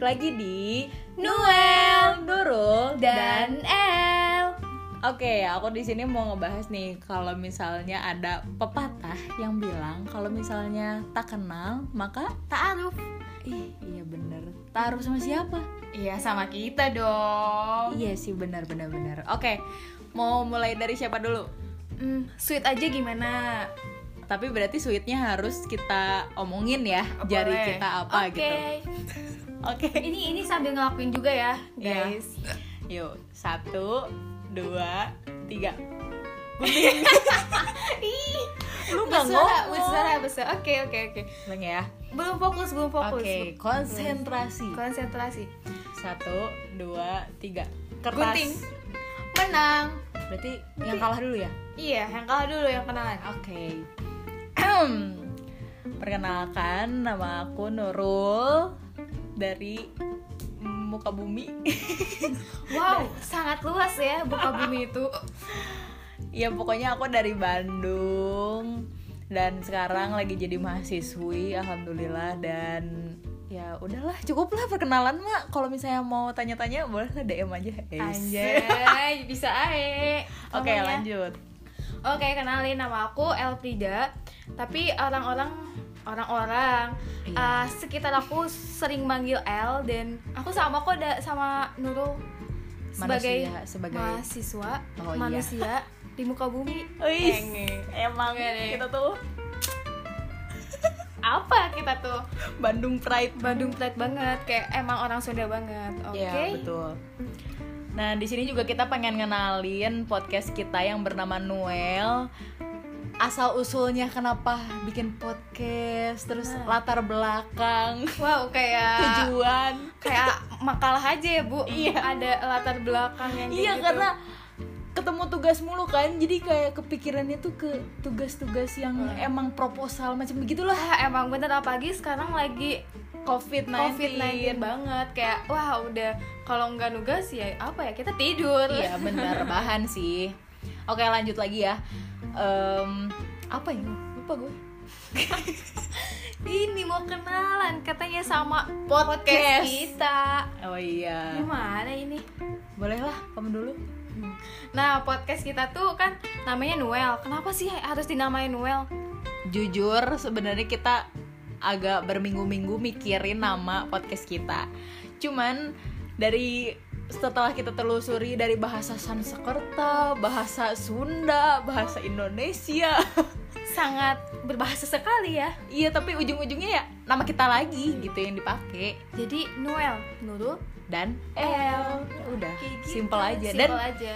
lagi di Noel, Nurul dan El. Oke, aku di sini mau ngebahas nih kalau misalnya ada pepatah yang bilang kalau misalnya tak kenal maka Taaruf. ih iya bener taruh sama siapa? Iya sama kita dong. Iya sih benar benar benar. Oke, mau mulai dari siapa dulu? Hmm, sweet aja gimana? Tapi berarti sweetnya harus kita omongin ya, jari Oh, Boleh. kita apa Oke. gitu. Oke. Ini ini sambil ngelakuin juga ya, Iya. guys. Yuk, satu, dua, tiga. Ih, Lu nggak bersuara, ngomong. bersuara, bersuara. Oke, oke, oke. Ulang ya. Belum fokus, belum fokus. Oke, konsentrasi. Konsentrasi. Satu, dua, tiga. Kertas. Gunting. Menang. Berarti yang kalah dulu ya. Iya, yang kalah dulu yang kenalan. Oke. Perkenalkan, nama aku Nurul dari muka bumi. Wow, sangat luas ya buka bumi itu. ya pokoknya aku dari Bandung dan sekarang lagi jadi mahasiswi, alhamdulillah dan ya udahlah cukuplah perkenalan mak kalau misalnya mau tanya-tanya boleh lah DM aja Is. Anjay, bisa ae. oke Ngomongnya. lanjut Oke, kenalin nama aku Elfrida. Tapi orang-orang orang-orang Iya. uh, sekitar aku sering manggil El dan aku sama kok da- sama Nurul sebagai Manusia, sebagai- mahasiswa Oh, iya. manusia di muka bumi. Wih, Enge. emang Enggak deh. kita tuh Apa kita tuh? Bandung Pride. Bandung Pride banget, kayak emang orang Sunda banget. Oke. Iya, betul. Nah, di sini juga kita pengen ngenalin podcast kita yang bernama Noel. Asal usulnya kenapa bikin podcast, terus Nah. latar belakang, Wow, kayak tujuan. kayak makalah aja ya, Bu. Iya. Ada latar belakang yang kayak Iya, gitu. karena ketemu tugas mulu kan, jadi kayak kepikirannya tuh ke tugas-tugas yang Nah. emang proposal macam begitulah. Wah, Ah, emang bener apalagi sekarang lagi COVID-19. COVID-19 banget kayak wah udah kalau nggak nugas ya apa ya kita tidur. Iya bener bahan sih. Oke lanjut lagi ya. Em, apa ya? Lupa gue. Ini mau kenalan katanya sama Podcast. podcast, kita. Oh iya. Gimana ini? Boleh lah, kamu dulu. Nah, podcast kita tuh kan namanya Noel. Kenapa sih harus dinamain Noel? Jujur sebenarnya kita agak berminggu-minggu mikirin nama podcast kita. Cuman dari setelah kita telusuri dari bahasa Sanskerta, bahasa Sunda, bahasa Indonesia. Sangat berbahasa sekali ya. iya, tapi ujung-ujungnya ya nama kita lagi gitu yang dipakai. Jadi Noel, Nurul, Dan ya El. udah Eh. Kayak gitu. simple aja dan Simple aja.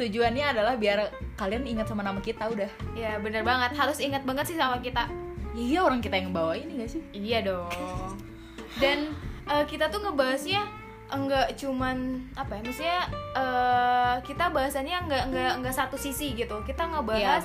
tujuannya adalah biar kalian ingat sama nama kita udah Ya bener banget, harus ingat banget sih sama kita. Ya iya orang kita yang bawa ini gak sih Iya dong. Dan eh, kita tuh ngebahasnya enggak cuman apa ya maksudnya eh, kita bahasannya enggak enggak enggak satu sisi gitu kita ngebahas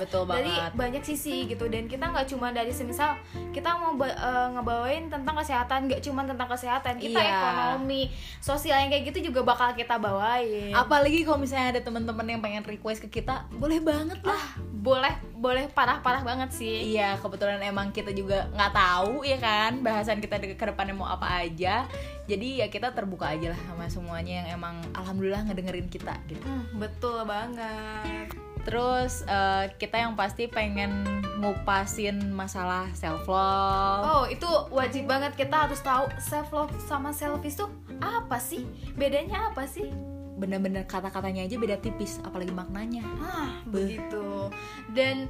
Iya, betul dari banget. banyak sisi gitu dan kita enggak cuma dari semisal kita mau ba- eh, ngebawain tentang kesehatan enggak cuma tentang kesehatan kita Iya. ekonomi sosial yang kayak gitu juga bakal kita bawain Iya. apalagi kalau misalnya ada teman-teman yang pengen request ke kita boleh banget Ah, lah boleh boleh parah parah banget sih iya kebetulan emang kita juga nggak tahu ya kan bahasan kita ke depannya mau apa aja jadi ya kita terbuka aja lah sama semuanya yang emang alhamdulillah ngedengerin kita gitu Hmm, betul banget terus eh, kita yang pasti pengen ngupasin masalah self love Oh, itu wajib banget kita harus tahu self love sama selfish tuh apa sih? Bedanya apa sih? bener-bener kata-katanya aja beda tipis apalagi maknanya Ah, Beh. begitu. Dan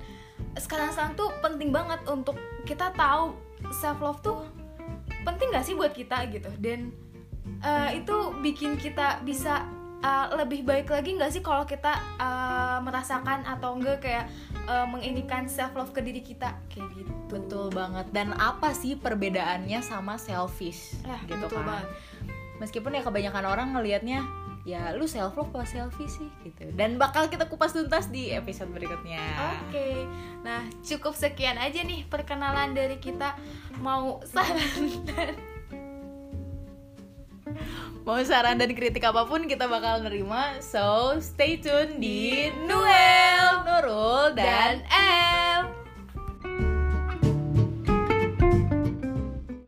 sekarang-sekarang tuh penting banget untuk kita tahu self love tuh penting gak sih buat kita gitu. Dan eh, itu bikin kita bisa eh, lebih baik lagi nggak sih kalau kita eh, merasakan atau enggak kayak eh, menginginkan self love ke diri kita kayak gitu. Betul banget. Dan apa sih perbedaannya sama selfish? Ya, gitu betul kan. banget. Meskipun ya kebanyakan orang ngelihatnya ya lu self love apa selfish sih gitu. Dan bakal kita kupas tuntas di episode berikutnya. Oke, nah cukup sekian aja nih perkenalan dari kita. Mau saran dan Mau saran dan kritik apapun kita bakal nerima. So, stay tune di Di Noel, Nurul dan dan El.